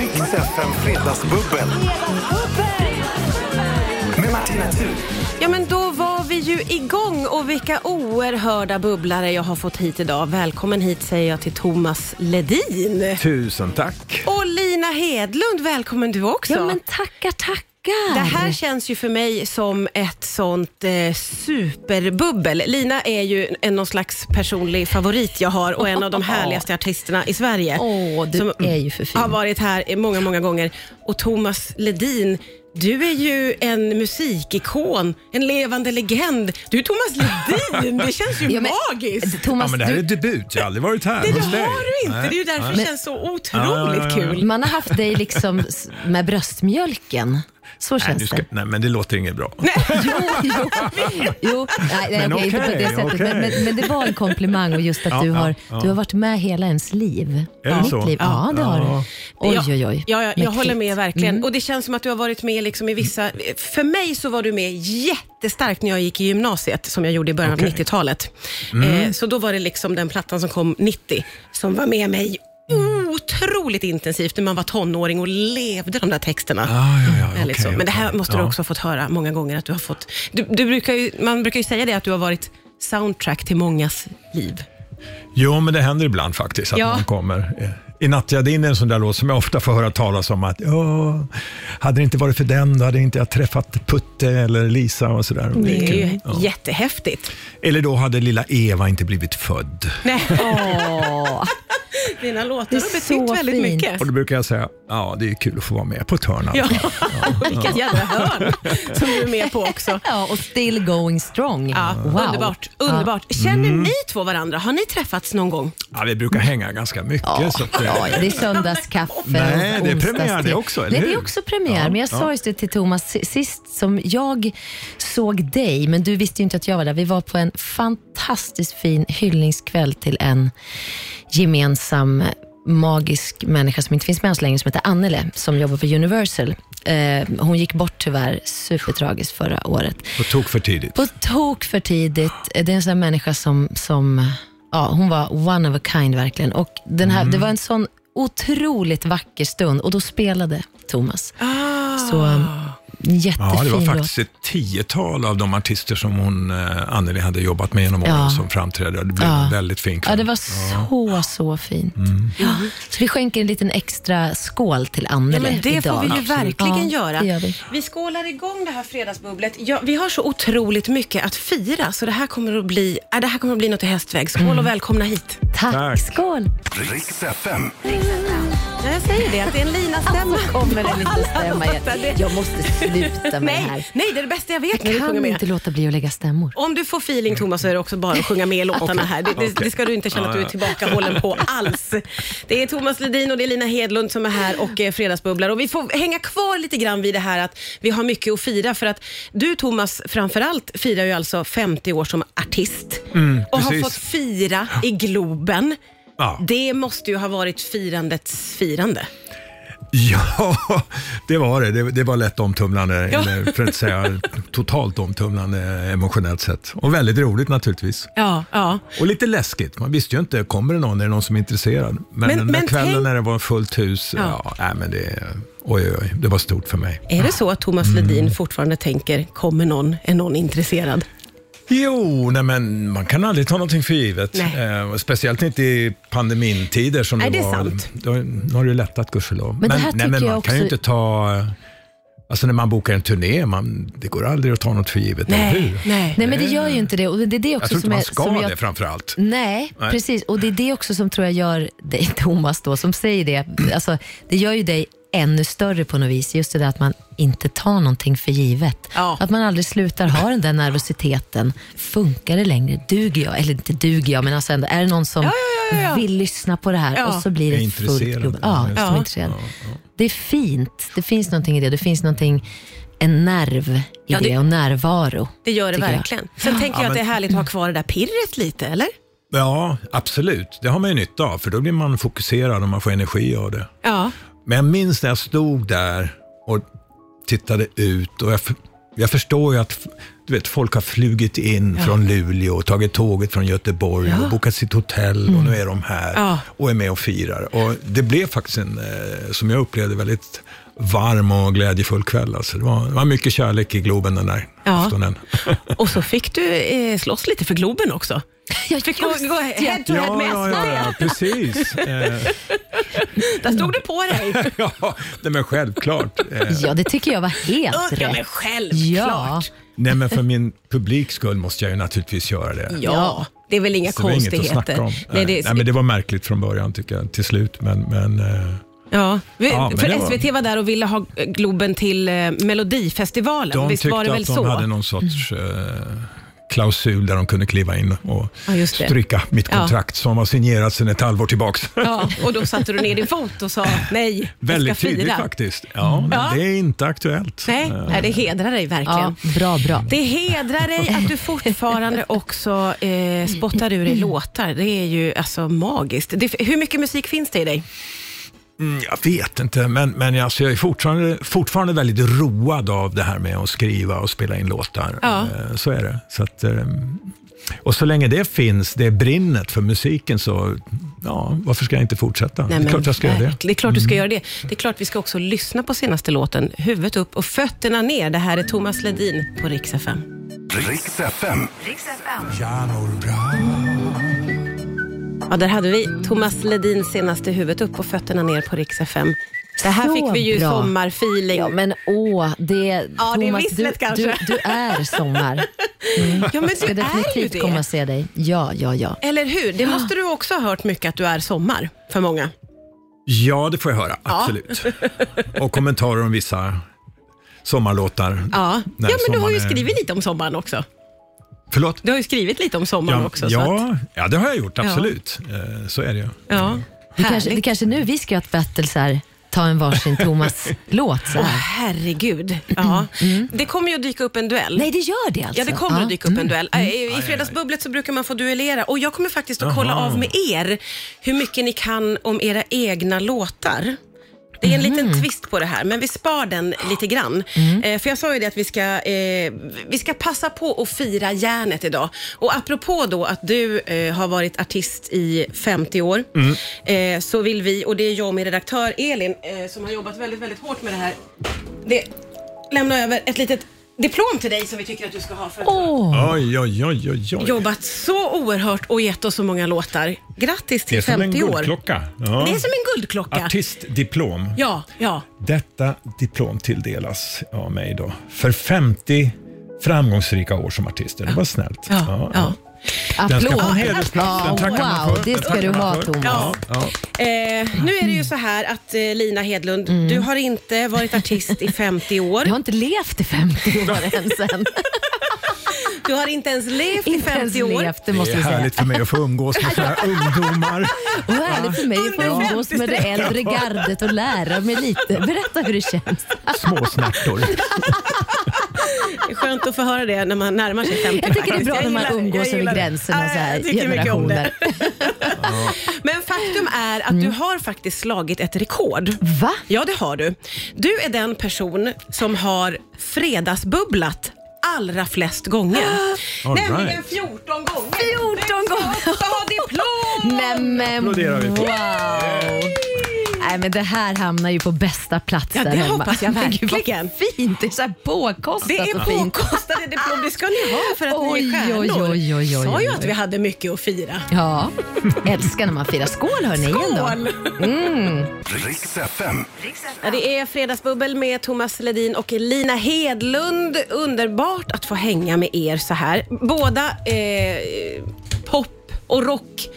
Rix FM Fredagsbubbel med Martina Thun. Ja, men då var vi ju igång och vilka oerhörda bubblare jag har fått hit idag. Välkommen hit säger jag till Thomas Ledin. Tusen tack. Och Lina Hedlund, välkommen du också. Ja men tackar, tackar. Det här känns ju för mig som ett sånt eh, superbubbel. Lina är ju en, någon slags personlig favorit jag har och en av de härligaste artisterna i Sverige. Åh, du som är ju för fin. har varit här i många, många gånger. Och Thomas Ledin, du är ju en musikikon, en levande legend. Du är Thomas Ledin, det känns ju Ja, men- magiskt. Thomas, Ja, men det här du- är debut. Jag har aldrig varit här Det hos dig. har du inte, Nej. det är ju därför det känns så Ja, ja, otroligt ja, ja. kul. man har haft dig liksom s- med bröstmjölken. Så Nej, känns du ska, det. nej, men det låter inget bra. Jo, jo, jo. Nej, nej, Men okej, inte på okej, det sättet. Men, okej. men, men det var en komplimang och just att Ja, du, ja, har, ja. du har varit med hela ens liv. Är det Mitt så? liv. Ja, det har du. Ja. Oj, Ja, oj, oj. Ja, ja, jag Mäktigt. håller med verkligen. Och Det känns som att du har varit med liksom i vissa... För mig så var du med jättestarkt när jag gick i gymnasiet, som jag gjorde i början Okej. av 90-talet. Eh, så då var det liksom den plattan som kom 90, som var med mig otroligt intensivt när man var tonåring och levde de där texterna. Ah, ja, ja, Eller okej, så. Men det här okej. måste du Ja. också ha fått höra många gånger. Att du har fått, du, du brukar ju, man brukar ju säga det att du har varit soundtrack till mångas liv. Jo, men det händer ibland faktiskt att Ja. någon kommer. eh, I nattjardin är en sån där låt som jag ofta får höra talas om att ja, hade det inte varit för den då hade inte jag träffat Putte eller Lisa och sådär. Och Det är ju kul. Ja. jättehäftigt. Eller då hade lilla Eva inte blivit född. Nej, Åh, dina låtar Det är har så betytt väldigt fint. mycket. Och då brukar jag säga, ja det är kul att få vara med på ett hörn. alltså." Ja, och vilket jävla hörn som du är med på också. ja, och still going strong. Ja, wow. Mm. Underbart. underbart. Känner ni två varandra? Har ni träffats någon gång? Ja, vi brukar hänga ganska mycket. Ja, Så att, ja, eh, det är söndagskaffe Nej, och det är onsdagste. premiär det också, eller Nej, det är hur? också premiär. Ja, men jag ja. sa just det till Thomas si- sist, som jag såg dig, men du visste ju inte att jag var där. Vi var på en fantastiskt fin hyllningskväll till en gemensam magisk människa som inte finns med oss längre, som heter Annele, som jobbar på Universal. Eh, hon gick bort tyvärr supertragiskt förra året. på tok för tidigt. På tok för tidigt. Eh, Det är en sån där människa som, som ja, hon var one of a kind verkligen. Och den här, Det var en sån otroligt vacker stund och då spelade Thomas. Så Ah. um, jättefin Ja, det var låt. faktiskt ett tiotal av de artister som hon, eh, Anneli hade jobbat med genom åren Ja. som framträdde. Det blev Ja. en väldigt fin Ja, kväll. det var så, så fint. Mm. Ja, så vi skänker en liten extra skål till Ja, Anneli men det idag. får vi ju verkligen Ja, göra. Det gör vi. Vi skålar igång det här fredagsbubblet. Ja, vi har så otroligt mycket att fira, så det här kommer att bli, äh, det här kommer att bli något i hästväg. Skål Mm. och välkomna hit. Tack, Tack. skål. Rix FM. Ja, jag säger det, att det är en linastämma. Kommer en liten stämma igen. Jag måste sluta med det Nej, här. nej, det är det bästa jag vet. när du Jag sjunger kan med. inte låta bli att lägga stämmor. Om du får feeling Thomas så är det också bara att sjunga med i låtarna här. Det, det, det ska du inte känna att du är tillbakahållen på alls. Det är Thomas Ledin och det är Lina Hedlund som är här och eh, Fredagsbubblar. Och vi får hänga kvar lite grann vid det här att vi har mycket att fira. För att du Thomas framförallt firar ju alltså 50 år som artist och har Mm, precis. fått fira i Globen. Ja. Det måste ju ha varit firandets firande. Ja, det var det. Det, det var lätt omtumlande, Ja. eller för att inte säga totalt omtumlande emotionellt sett. Och väldigt roligt naturligtvis. Ja, ja. Och lite läskigt. Man visste ju inte, kommer det någon? Är det någon som är intresserad? Men, Men- den där men kvällen tänk- när det var fullt hus, ja. nej, men det, oj, oj, oj, det var stort för mig. Är det så att Thomas Ledin fortfarande tänker, kommer någon, är någon intresserad? Jo, nej men man kan aldrig ta någonting för givet. Nej. Eh, speciellt inte i pandemintider som Nej, det det är var. sant. Då, nu har det ju lättat gudskelov. Men det här nej, men tycker man jag kan ju också- inte ta... eh, Alltså när man bokar en turné, man, det går aldrig att ta något för givet, eller hur? nej. Nej, men det gör ju inte det. Och det, det är det Jag också tror inte som man är, ska som jag, det framför allt. Nej, Nej. precis. Och det är det också som tror jag gör dig, Thomas, då, som säger det. Alltså, det gör ju dig ännu större på något vis. Just det där att man inte tar någonting för givet. Ja. Att man aldrig slutar ha den där nervositeten. Funkar det längre? Duger jag? Eller inte duger jag, men alltså ändå, är det någon som vill lyssna på det här? Ja. Och så blir Är det fullt intresserad. klubb. Ja, Ja, just som det. är intresserad. Det är fint. Det finns någonting i det. Det finns någonting, en nerv i Ja, det- det och närvaro. Det gör det tycker jag. verkligen. Sen tänker jag att det är härligt att ha kvar det där pirret lite, eller? Ja, absolut. Det har man ju nytta av, för då blir man fokuserad och man får energi av det. Ja. Men jag minns när jag stod där och tittade ut och jag f- Jag förstår ju att du vet, folk har flugit in från Luleå, och tagit tåget från Göteborg och bokat sitt hotell och nu är de här Mm. Ja. och är med och firar. Och det blev faktiskt en, eh, som jag upplevde, väldigt varm och glädjefull kväll. Alltså det, var, det var mycket kärlek i Globen den där Ja. aftonen. Och så fick du eh, slåss lite för Globen också. Jag Fick gå, gå head to head Ja, med ja, SD. ja, ja, precis. Eh, Där stod du på dig. ja, nej, men självklart. Eh, Ja, det tycker jag var helt Ja, men rätt. självklart. nej, men för min publiks skull måste jag ju naturligtvis göra det. Ja, det är väl inga Så det var inget att konstigheter. snacka om. Nej, Nej, det, nej, men det var märkligt från början tycker jag, till slut. Men, men, eh, ja. Vi, Ja, men för det var- SVT var där och ville ha eh, Globen till eh, Melodifestivalen. de Visst tyckte var det väl att de så? hade någon sorts eh, klausul där de kunde kliva in och Ja, just det. stryka mitt Ja. kontrakt som var signerat sedan ett halvår tillbaka. Ja, och då satte du ner din fot och sa nej, jag Väldigt ska tydligt fira. faktiskt. Ja, men Ja. Det är inte aktuellt. Nej, Eh, nej, det hedrar dig verkligen. Ja, bra, bra. Det hedrar dig att du fortfarande också eh, spottar ur dig låtar. Det är ju alltså magiskt. Det, hur mycket musik finns det i dig? Mm, Jag vet inte, men, men alltså, jag är fortfarande, fortfarande väldigt road av det här med att skriva och spela in låtar. Ja. Eh, Så är det. Så att, eh, och så länge det finns, det brinnet för musiken, så ja, varför ska jag inte fortsätta? det är klart jag ska göra det. Mm. verkligen. Det är klart du ska göra det. Det är klart vi ska också lyssna på senaste låten, huvudet upp och fötterna ner. Det här är Thomas Ledin på Rix FM. Riks FM. Ja, mår bra. Ja, där hade vi Thomas Ledin senaste huvudet upp och fötterna ner på Rix FM. Det här Så fick vi ju bra. sommarfeeling. Ja, men åh, Ja, det, det är Thomas, visslet du, kanske. du, du är sommar. Ja, men Jag du ska är ju definitivt komma det. och se dig. Ja, ja, ja. Eller hur? Det måste du också ha hört mycket att du är sommar för många. Ja, det får jag höra. Absolut. Och kommentarer om vissa sommarlåtar. Ja, När ja men du har ju sommaren är- skrivit lite om sommaren också. Förlåt? Du har ju skrivit lite om sommaren Ja, också. Så att, ja, ja, det har jag gjort. Absolut. Eh, Så är det ju. ja. Det kanske, det Härligt. kanske nu vi ska göra ett battle, så här, ta en varsin Thomas-låt. så Åh, här. herregud. Ja. Det kommer ju att dyka upp en duell. Mm. Nej, Mm. det gör det alltså. Ja, det kommer att dyka upp en duell. Äh, I aj, Fredagsbubblet så brukar man få duellera och jag kommer faktiskt att Jaha. kolla av med er hur mycket ni kan om era egna låtar. Det är en liten twist på det här, men vi spar den lite grann. Eh, för jag sa ju det att vi ska, eh, vi ska passa på att fira järnet idag. Och apropå då att du eh, har varit artist i 50 år, Mm. eh, så vill vi, och det är jag och min redaktör Elin, eh, som har jobbat väldigt, väldigt hårt med det här, det, lämna över ett litet diplom till dig som vi tycker att du ska ha för att du Åh, Oj, oj, oj, oj. har oj. jobbat så oerhört och gett oss så många låtar. Grattis Det är till som en 50 år. guldklocka. Ja. Det är som en guldklocka. Artistdiplom. Ja, ja. Detta diplom tilldelas av mig då för 50 framgångsrika år som artist. Det var snällt. Ja, ja. Den ska få en Applåder. hedersplats. Den tackar man wow, för. det Den ska tackar du man ha för. Thomas. Ja. Ja. Eh, nu är det ju så här att eh, Lina Hedlund, Mm. du har inte varit artist i 50 år. Jag har inte levt i 50 år ens än. Du har inte ens levt i inte ens 50 år. levt, det Det måste är vi säga. härligt för mig att få umgås med sådana här ungdomar. Och härligt för mig att få umgås med det äldre gardet och lära mig lite. Berätta hur det känns. Småsnärtor. Det är skönt att få höra det när man närmar sig 50. Jag tycker det är bra faktiskt. när man Jag gillar- jag umgås gillar över det. gränserna Ja, så här, jag tycker mycket om det. generationer. Mm. Men faktum är att du har faktiskt slagit ett rekord. Va? Ja, det har du. Du är den person som har fredagsbubblat allra flest gånger. All Nämligen right. 14 gånger. 14 Du ska också ha diplom! Nämen Applåderar vi på. wow! Nej, men det här hamnar ju på bästa plats Ja, där det hemma. hoppas jag Men verkligen. Gud, vad fint! Det är så här påkostat Det är och fint. påkostade diplom, det ska ni ha för att ni är Oj, stjärnor. oj, oj, oj, sa oj, ju oj. att vi hade mycket att fira. Ja, älskar när man firar. Skål hörni! igen då. Skål! Riks FM. Ja, det är Fredagsbubbel med Thomas Ledin och Lina Hedlund. Underbart att få hänga med er så här. Båda eh, pop och rock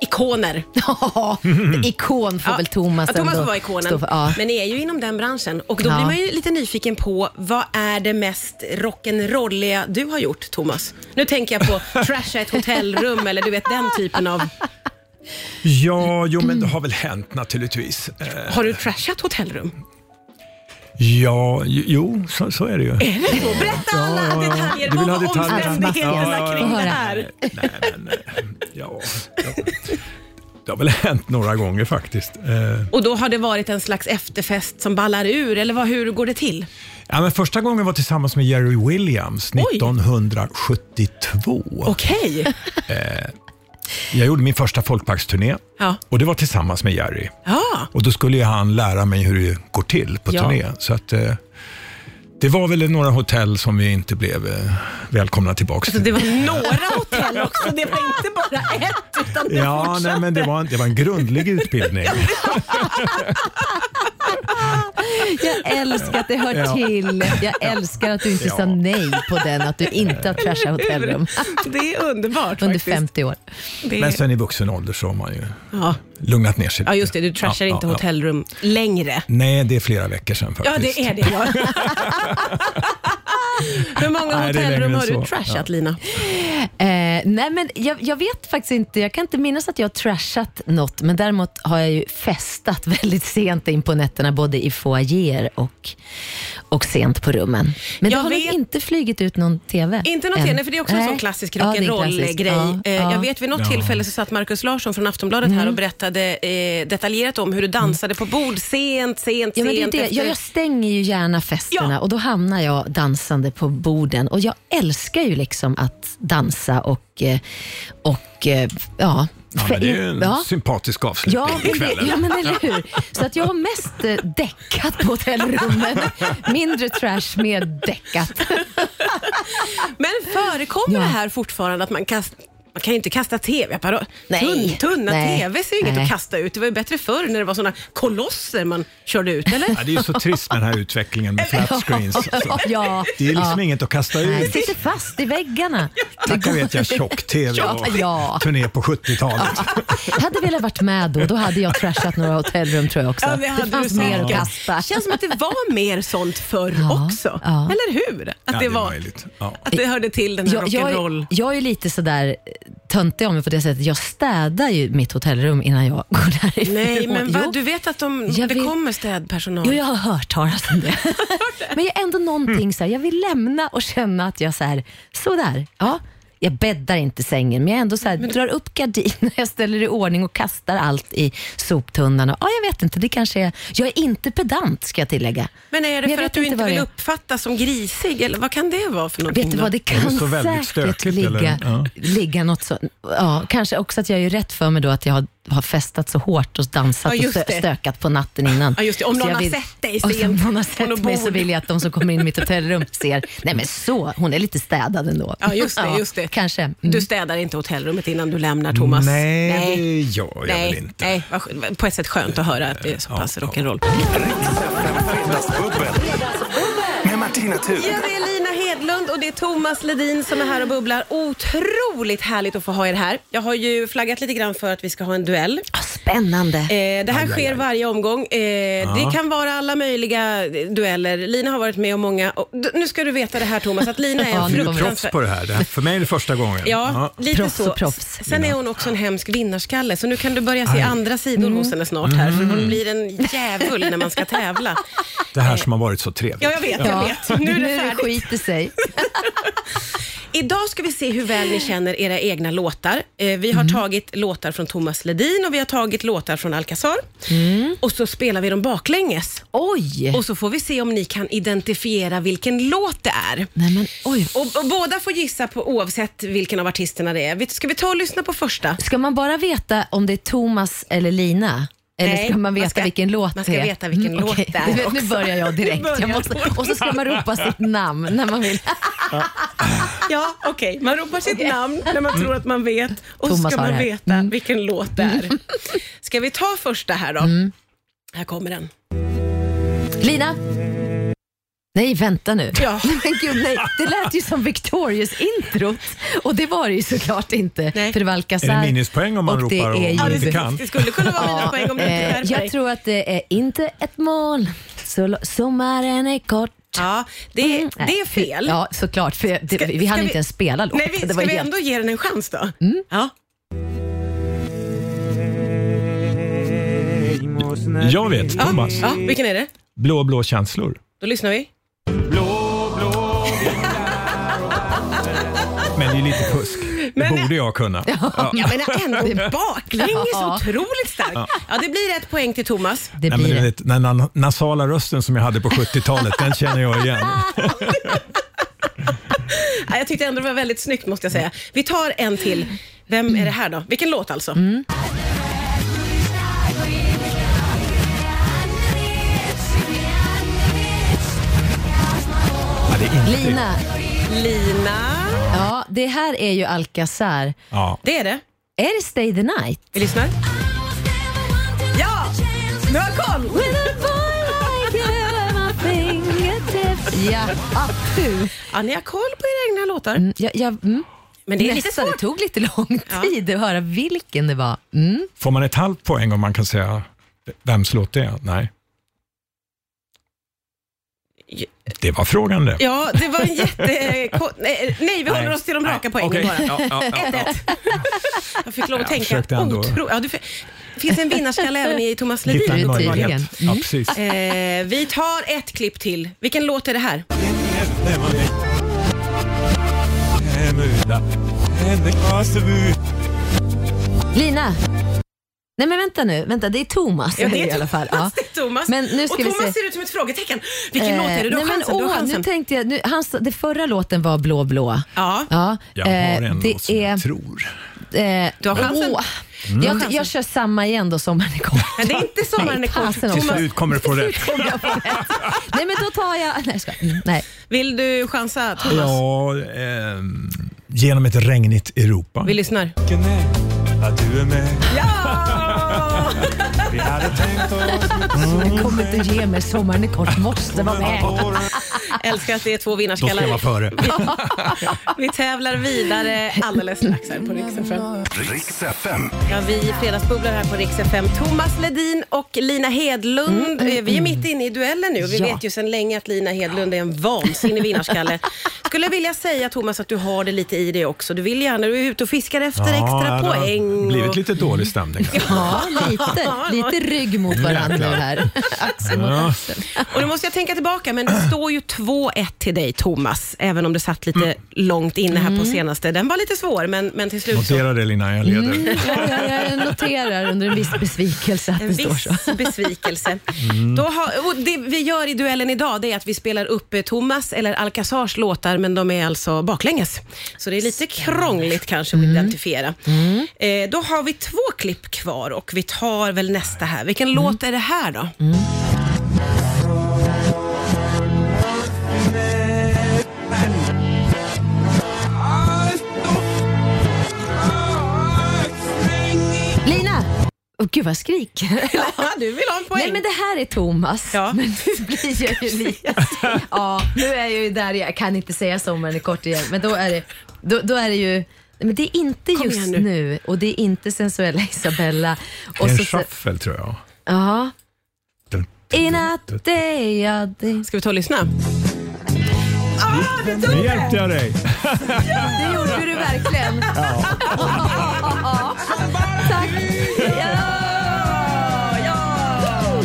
ikoner. Ja, ikon får väl Thomas ja, Thomas ändå får vara ikonen. stå för. Ja. Men ni är ju inom den branschen och då Ja. blir man ju lite nyfiken på vad är det mest rock'n'rolliga du har gjort, Thomas? Nu tänker jag på trasha ett hotellrum eller du vet den typen av... Ja, jo men det har väl hänt naturligtvis. Eh, Har du trashat hotellrum? Ja, jo, så, så är det ju. Eh. Berätta alla ja, ja. detaljer. Du vill Vad ha var detaljer? omständigheterna Ja, ja, ja. kring Få det höra. här? Nej, men, eh, ja, ja. Det har väl hänt några gånger faktiskt. Eh, Och då har det varit en slags efterfest som ballar ur, eller vad, hur går det till? Ja, men första gången var tillsammans med Jerry Williams Oj. 1972. Okej. Jag gjorde min första folkparksturné Ja. och det var tillsammans med Jerry. Ja. Och då skulle ju han lära mig hur det går till på Ja. turné. Så att, eh, det var väl några hotell som vi inte blev eh, välkomna Så tillbaka till. Alltså, det var några hotell också. Det var inte bara ett, utan det Ja, fortsatte. nej, men det var, en- det var en grundlig utbildning. Jag älskar att det hör Ja. till. Jag älskar att du inte Ja. sa nej på den, att du inte har trashat hotellrum Det är underbart under faktiskt. 50 år. Det Men är... sen i vuxen ålder så har man ju ja. lugnat ner sig ja, lite. just det. Du trashar Ja, inte ja, ja. hotellrum längre. Nej, det är flera veckor sedan Ja, faktiskt. det är det. Ja. Hur många Nej, det är hotellrum längre har än du så. trashat, Ja. Lina? Eh, nej, men jag, jag vet faktiskt inte. Jag kan inte minnas att jag har trashat något, men däremot har jag ju festat väldigt sent in på nätterna, både i foajéer och, och sent på rummen. Men Jag jag det har nog vet- inte flygit ut någon TV. Inte något än. nej, för det är också en sån Nej. klassisk Ja, det är en klassisk. rock'n'roll-grej. Ja, Eh, ja. Mm. Jag vet vid något Ja. tillfälle så satt Markus Larsson från Aftonbladet här och berättade eh, detaljerat om hur du dansade på bord sent, sent, Ja, men det är sent. det. efter- Jag, jag stänger ju gärna festerna Ja. och då hamnar jag dansande på borden. Och jag älskar ju liksom att dansa och, eh, och eh, ja. Ja, men det är ju en Ja. sympatisk avslutning Ja, på men det, kvällen. ja, men eller hur. Så att jag har mest eh, däckat på hotellrummen. Mindre trash, mer däckat. Men förekommer Ja. det här fortfarande att man kastar man kan ju inte kasta tv-apparat. Nej. Tunn, tunna Nej. tvs är ju inget Nej. att kasta ut. Det var ju bättre förr när det var såna kolosser man körde ut, eller? Ja, det är ju så trist med den här utvecklingen med flat screens. Alltså. Ja, Det är liksom ja. inget att kasta Nej, ut. sitter fast i väggarna. Tacka vet jag tjock-tv och Ja. turné på 70-talet. Hade velat varit med då, då hade jag trashat några hotellrum tror jag också. Ja, det hade det du fanns mer att säkert. kasta. känns som att det var mer sånt förr Ja, också. ja. Eller hur? Att, Ja, det är var, möjligt. Ja. att det hörde till den här jag, jag, rock'n'roll. är- jag är lite sådär eh, töntig om mig på det sättet. Jag städar ju mitt hotellrum innan jag går därifrån. Nej, men Jo. vad, du vet att de, det Jag vet. kommer städpersonal? Jo, jag har hört talas om det. Men jag är ändå någonting så här, jag vill lämna och känna att jag så här, sådär, ja. Jag bäddar inte sängen, men jag ändå så här, drar upp gardiner, jag ställer i ordning och kastar allt i soptunnan. Och, ja, jag vet inte, det kanske är... Jag är inte pedant, ska jag tillägga. Men är det för jag vet att du inte vad det vill är. uppfattas som grisig? Eller vad kan det vara för någonting? Vet du då? vad, det kan så väldigt säkert stökigt, eller? ligga, Ja. ligga något så. Ja, kanske också att jag är rätt för mig då att jag har, har festat så hårt och dansat Ja, och just stö, det. stökat på natten innan. Ja, just det. Om Så någon jag har sett dig och Om sent någon har på något sett mig så bord. vill jag att de som kommer in i mitt hotellrum ser, nej men så, hon är lite städad ändå. Ja, just det. Just det. Kanske. Mm. Du städar inte hotellrummet innan du lämnar, Thomas? Nej, det gör jag Nej, väl inte. nej, vad sk- på ett sätt skönt att höra att det är så Ja, pass ja. rock'n'roll. Fredagsbubbel. Med Martina Thun. Ja, det är Lina Hedlund och det är Thomas Ledin som är här och bubblar. Otroligt härligt att få ha er här. Jag har ju flaggat lite grann för att vi ska ha en duell. Ah, spännande. Eh, det här aj, sker aj. varje omgång. Eh, Det kan vara alla möjliga eh, dueller. Lina har varit med om många. Och, d- nu ska du veta det här Thomas, att Lina är Ja, en nu Du är kommer proffs fruktansvärd... på det här. Det här. För mig är det första gången. Ja, Ja. lite Proffs och så. proffs. Sen är hon också en hemsk vinnarskalle, så nu kan du börja se andra sidor hos henne snart här. För Mm. hon blir en djävul när man ska tävla. Det här som har varit så trevligt. Ja, jag vet, jag vet. Nu är det färdigt. skit i sig. Idag ska vi se hur väl ni känner era egna låtar. Eh, vi har Mm. tagit låtar från Thomas Ledin och vi har tagit låtar från Alcazar. Mm. Och så spelar vi dem baklänges. Oj! Och så får vi se om ni kan identifiera vilken låt det är. nej men oj. Och, och båda får gissa på oavsett vilken av artisterna det är. Vet- Ska vi ta och lyssna på första? Ska man bara veta om det är Thomas eller Lina? Eller Nej, ska man veta man ska- vilken låt man ska det är? Mm, veta vilken låt okej. det är Du vet, Nu också. börjar jag direkt. Nu börjar jag måste, du. och så ska man ropa sitt namn när man vill. Ja, okej. Man ropar sitt namn när man tror att man vet och så Thomas ska har man det här. veta Mm. vilken låt det är. Ska vi ta första här då? Mm. Här kommer den. Lina? Nej, vänta nu. Ja. Nej, men gud, nej. Det lät ju som Victorious-introt och det var det ju såklart inte. Nej. För det var Är det Alcazar. minuspoäng om man Och det ropar och är man ju- inte kan? Det skulle kunna vara mina Ja, poäng om du inte eh, skärper dig. jag tror att det är inte ett mål, så lo- sommaren är kort. Ja, det, Mm, nej. det är fel. Ja, såklart. För det, Ska- vi ska hann vi- inte ens spela låten. Nej, vi, det ska var vi ju helt- Mm. ändå ge den en chans då? Ja. Jag vet, Ja. Thomas. ja, vilken är det? Blå, blå känslor. Då lyssnar vi. Men det är lite fusk. Det Men- borde jag kunna. Ja. Jag menar ändå baklänges Ja. otroligt starkt. Ja, det blir ett poäng till Thomas. Det Nej, men blir du det. vet, den na- nasala rösten som jag hade på 70-talet, den känner jag igen. Ja, jag tyckte ändå det var väldigt snyggt måste jag säga. Vi tar en till. Vem är det här då? Vilken låt alltså? Mm. Ja, det är inte Lina, Lina. ja, det här är ju Alcazar. Ja. Det är det. Är det Stay the night? Vi lyssnar. Ja! Nu har jag koll! Ja, ah, puh. Ja, ni har koll på era egna låtar. Mm, jag, jag, mm. Men det är lite Nästan, det svårt. tog lite lång Ja. tid att höra vilken det var. Mm. Får man ett halvt poäng om man kan säga vems låt det är? Nej. Det var frågan det. Ja, det var en jätte... ko- Nej, nej, vi håller Nej. oss till de raka Nej, poängen okej. bara. Ja, ja, ja, ja. Jag fick lov att försökte tänka. ändå. Otro... Ja, du... finns en vinnarskalle även i Thomas Hitta en Ledin. tydligen. möjlighet. Mm. Ja, precis. Eh, vi tar ett klipp till. Vilken låt är det här? Eh, Lina! Nej men vänta nu, vänta det är Thomas Ja, det är i alla fall. Thomas, det är Thomas. Men nu ska och vi Thomas se. ser ut som ett frågetecken. Vilken Eh, låt är det? Du har nej, men, chansen. du har åh, chansen. nu tänkte jag, nu, hans, det förra låten var Blå blå. Ja. Ja, Jag har eh, en det låt som är- jag tror. Mm. Eh, Du har chansen. åh. jag, jag kör samma igen då, Sommaren är kort. Men det är inte Sommaren är Nej, kort. fasen också. Till Thomas, slut kommer du få rätt. Nej men då tar jag... Nej, jag ska, mm, nej. vill du chansa Thomas? Ja, ehm, genom ett regnigt Europa. Vi lyssnar. Att du är med. Ja! Vi hade tänkt oss Jag kommer inte ge mig. Sommaren är kort, måste vara med. våren. Älskar att det är två Då ska jag vinnarskallar. vara före. Vi tävlar vidare alldeles strax här på Rix FM. Riks FM. Ja, vi fredagsbubblar här på Rix FM. Thomas Ledin och Lina Hedlund. Mm, Eh, vi är mitt inne i duellen nu och vi Ja. vet ju sedan länge att Lina Hedlund är en vansinnig vinnarskalle. Skulle vilja säga Thomas att du har det lite i dig också. Du vill gärna, du är ute och fiskar efter extra ja, det har poäng. och- blivit lite dålig stämning. Ja, lite, lite rygg mot varandra här. Axel mot Ja. axel. Och nu måste jag tänka tillbaka, men det står ju 2-1 till dig Thomas, även om det satt lite Mm. långt inne här på senaste. Den var lite svår, men, men till slut så... Notera det Lina, jag Mm. leder. Ja, jag, jag noterar under en viss besvikelse att En det står viss så. Mm. besvikelse. Då har, och det vi gör i duellen idag det är att vi spelar upp eh, Thomas eller Alcazars låtar, men de är alltså baklänges. Så det är lite krångligt kanske Mm. att identifiera. Eh, då har vi två klipp kvar och vi tar väl nästa här. Vilken låt Mm. är det här då? Lina! Oh, gud vad jag skriker. Ja, du vill ha en poäng. Nej men det här är Thomas. Ja. Men nu blir jag ju lite... Ja, nu är jag ju där, jag kan inte säga sommaren är kort igen, men då är det, då, då är det ju men det är inte Kom just igen nu. nu. och det är inte sensuella Isabella. Det Och är en så- shuffle tror jag. Ja. Dun, I natt är jag din. Ska vi ta och lyssna? Ah, det tog Nu hjälpte jag dig. Det gjorde du verkligen. Tack. Ja, ja.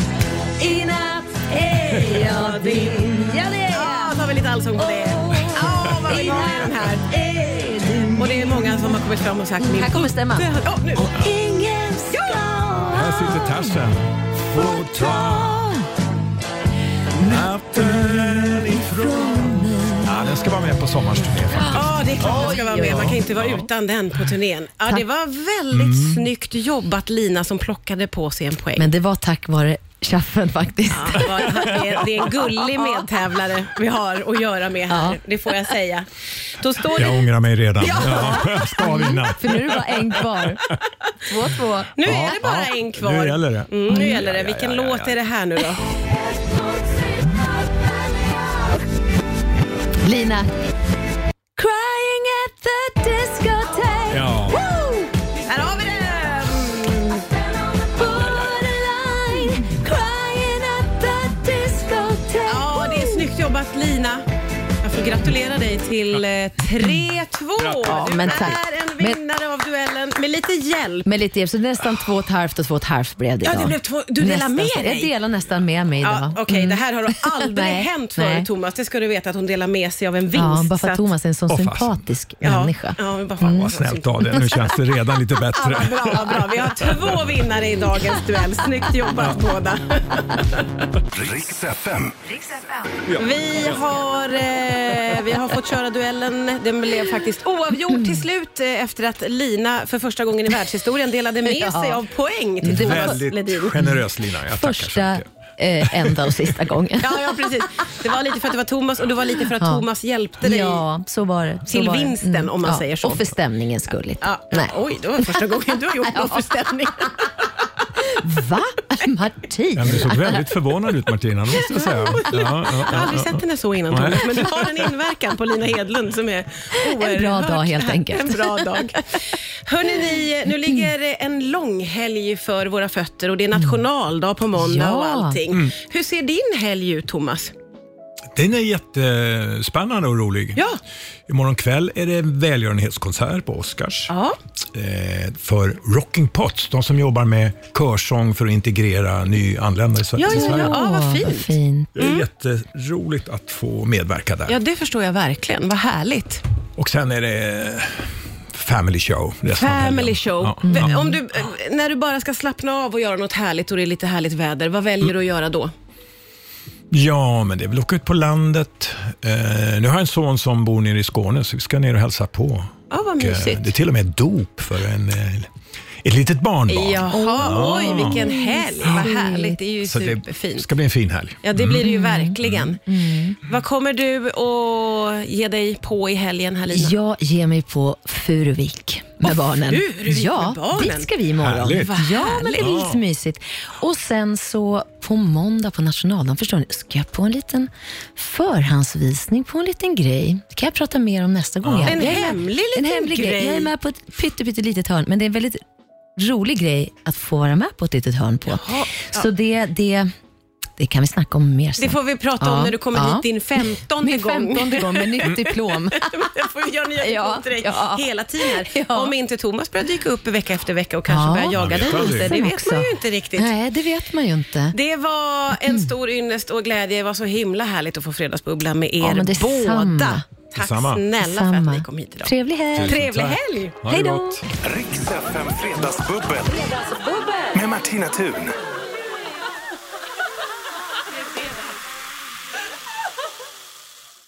I natt är jag din. Ja, det är jag. Ja, tar vi lite allsång på det. Ja, vad vi har de här. Och det är många som har kommit fram och sagt min Mm, Här kommer stämman. putte- Ja, nu. Ingen ska Här sitter Tarzan. Få ta natten ifrån Ja, den ska vara med på sommarsturné faktiskt. Ja, det är klart den ska vara med. Man kan inte vara utan den på turnén. Ja, det var väldigt snyggt jobbat Lina som plockade på sig en poäng. Mm. Men det var tack vare chaffen faktiskt. Ja, det var- det är- det är en gullig medtävlare vi har att göra med här, Ja. det får jag säga. Då står Jag det, ångrar mig redan. Ja. Jag ska vinna. För nu är det bara en kvar. Två, två. nu är det bara en kvar. Nu gäller det. Mm, nu gäller det. Vilken låt är det här nu då? Lina. Crying at the discotheque. Ja. Woo! Här har vi den! Borderline. Crying at the discotheque. Ja, det är snyggt jobbat Lina. Jag jag får gratulera dig till eh, 3-2. Ja, du men tack. är en Men- vinnare av duellen med lite hjälp. Med lite hjälp, så nästan två och ett halvt och två och ett halvt blev det Ja, det idag. blev två- du delar nästan, med så- dig. Jag delar nästan med mig idag. Mm. Ja, Okej, det här har aldrig Nej, hänt förut nej. Thomas. Det ska du veta att hon delar med sig av en vinst. Ja, bara så för att att- Thomas är en sån Åh, fasen. sympatisk ja, människa. Mm. Ja, men bara fan, Vad snällt av dig. Nu känns det redan lite bättre. Vad bra, vad bra. Vi har två vinnare i dagens duell. Snyggt jobbat båda. Riks FM. Vi har, eh, vi har fått köra duellen. Den blev faktiskt oavgjord till slut eh, efter att Lina för första gången i världshistorien delade med Ja. sig av poäng till Thomas Ledin. Väldigt generös Lina. Jag tackar så Första, mycket. eh, enda och sista gången. Ja, ja, precis. Det var lite för att det var Thomas och det var lite för att Ja. Thomas hjälpte dig. Ja, så var det. Så Till var det. Mm, vinsten, om man säger så. Och för stämningens skull. Ja, Nej. Oj, det var första gången du har gjort någon Ja. förställning. Va? Martin? Ja, men Du såg väldigt förvånad ut Martina, det måste jag säga. Ja, ja, Jag har aldrig ja, ja. sett henne så innan Nej. Thomas, men du har en inverkan på Lina Hedlund som är oerhört... dag, helt enkelt. En bra dag. Hörrni, ni, nu ligger en lång helg för våra fötter och det är nationaldag på måndag Mm. Ja. och allting. Hur ser din helg ut Thomas? Den är jättespännande och rolig. Ja. Imorgon kväll är det en välgörenhetskonsert på Oscars. Ja. eh, för Rocking Pots, de som jobbar med körsång för att integrera nyanlända i Sve- Ja, i ja, Sverige. ja. vad Åh, fint. Det är jätteroligt att få medverka där. Ja, det förstår jag verkligen. Vad härligt. Och sen är det family show. resten av Family helgen. show. Ja, Mm. V- ja. Om du, eh, när du bara ska slappna av och göra något härligt och det är lite härligt väder, vad väljer du att göra då? ja, men det är väl åka ut på landet. Eh, nu har jag en son som bor nere i Skåne, så vi ska ner och hälsa på. Ja, vad Och, eh, mysigt. Det är till och med dop för en, eh, ett litet barnbarn. Jaha, oj vilken helg. Vad härligt. Mm. Det är ju Så det superfint. ska bli en fin helg. Ja, det blir det ju Mm. verkligen. Vad kommer du att ge dig på i helgen här Lina? Jag ger mig på Furuvik med barnen. Furuvik med ja, barnen. dit ska vi imorgon. Härligt. Vad Ja, men det är härligt. lite mysigt. Och sen så på måndag på nationaldagen, förstår ni, ska jag på en liten förhandsvisning på en liten grej. Det kan jag prata mer om nästa gång. Jag- En jag är med- hemlig en liten hemlig grej. grej. Jag är med på ett pytte, pytte litet hörn, men det är en väldigt rolig grej att få vara med på ett litet hörn på. Jaha, ja. Så det, det, det kan vi snacka om mer sen. Det får vi prata om Ja, när du kommer ja. hit din femtonde Min gång. femtonde gång med nytt diplom. Jag får göra nya Ja, ja, till dig ja. hela tiden här. Ja. Om inte Thomas börjar dyka upp vecka efter vecka och kanske Ja. börjar jaga dig Man vet aldrig. lite. Det Sen vet också. man ju inte riktigt. Nej, Mm. det vet man ju inte. Det var en stor ynnest och glädje. Det var så himla härligt att få fredagsbubbla med er Ja, men detsamma. båda. Tack Detsamma. snälla för Samma. att ni kom hit idag. Trevlig helg. Trevlig Tack. helg! Ha det Hej då. gott. Riks FM Fredagsbubbel. Med Martina Thun.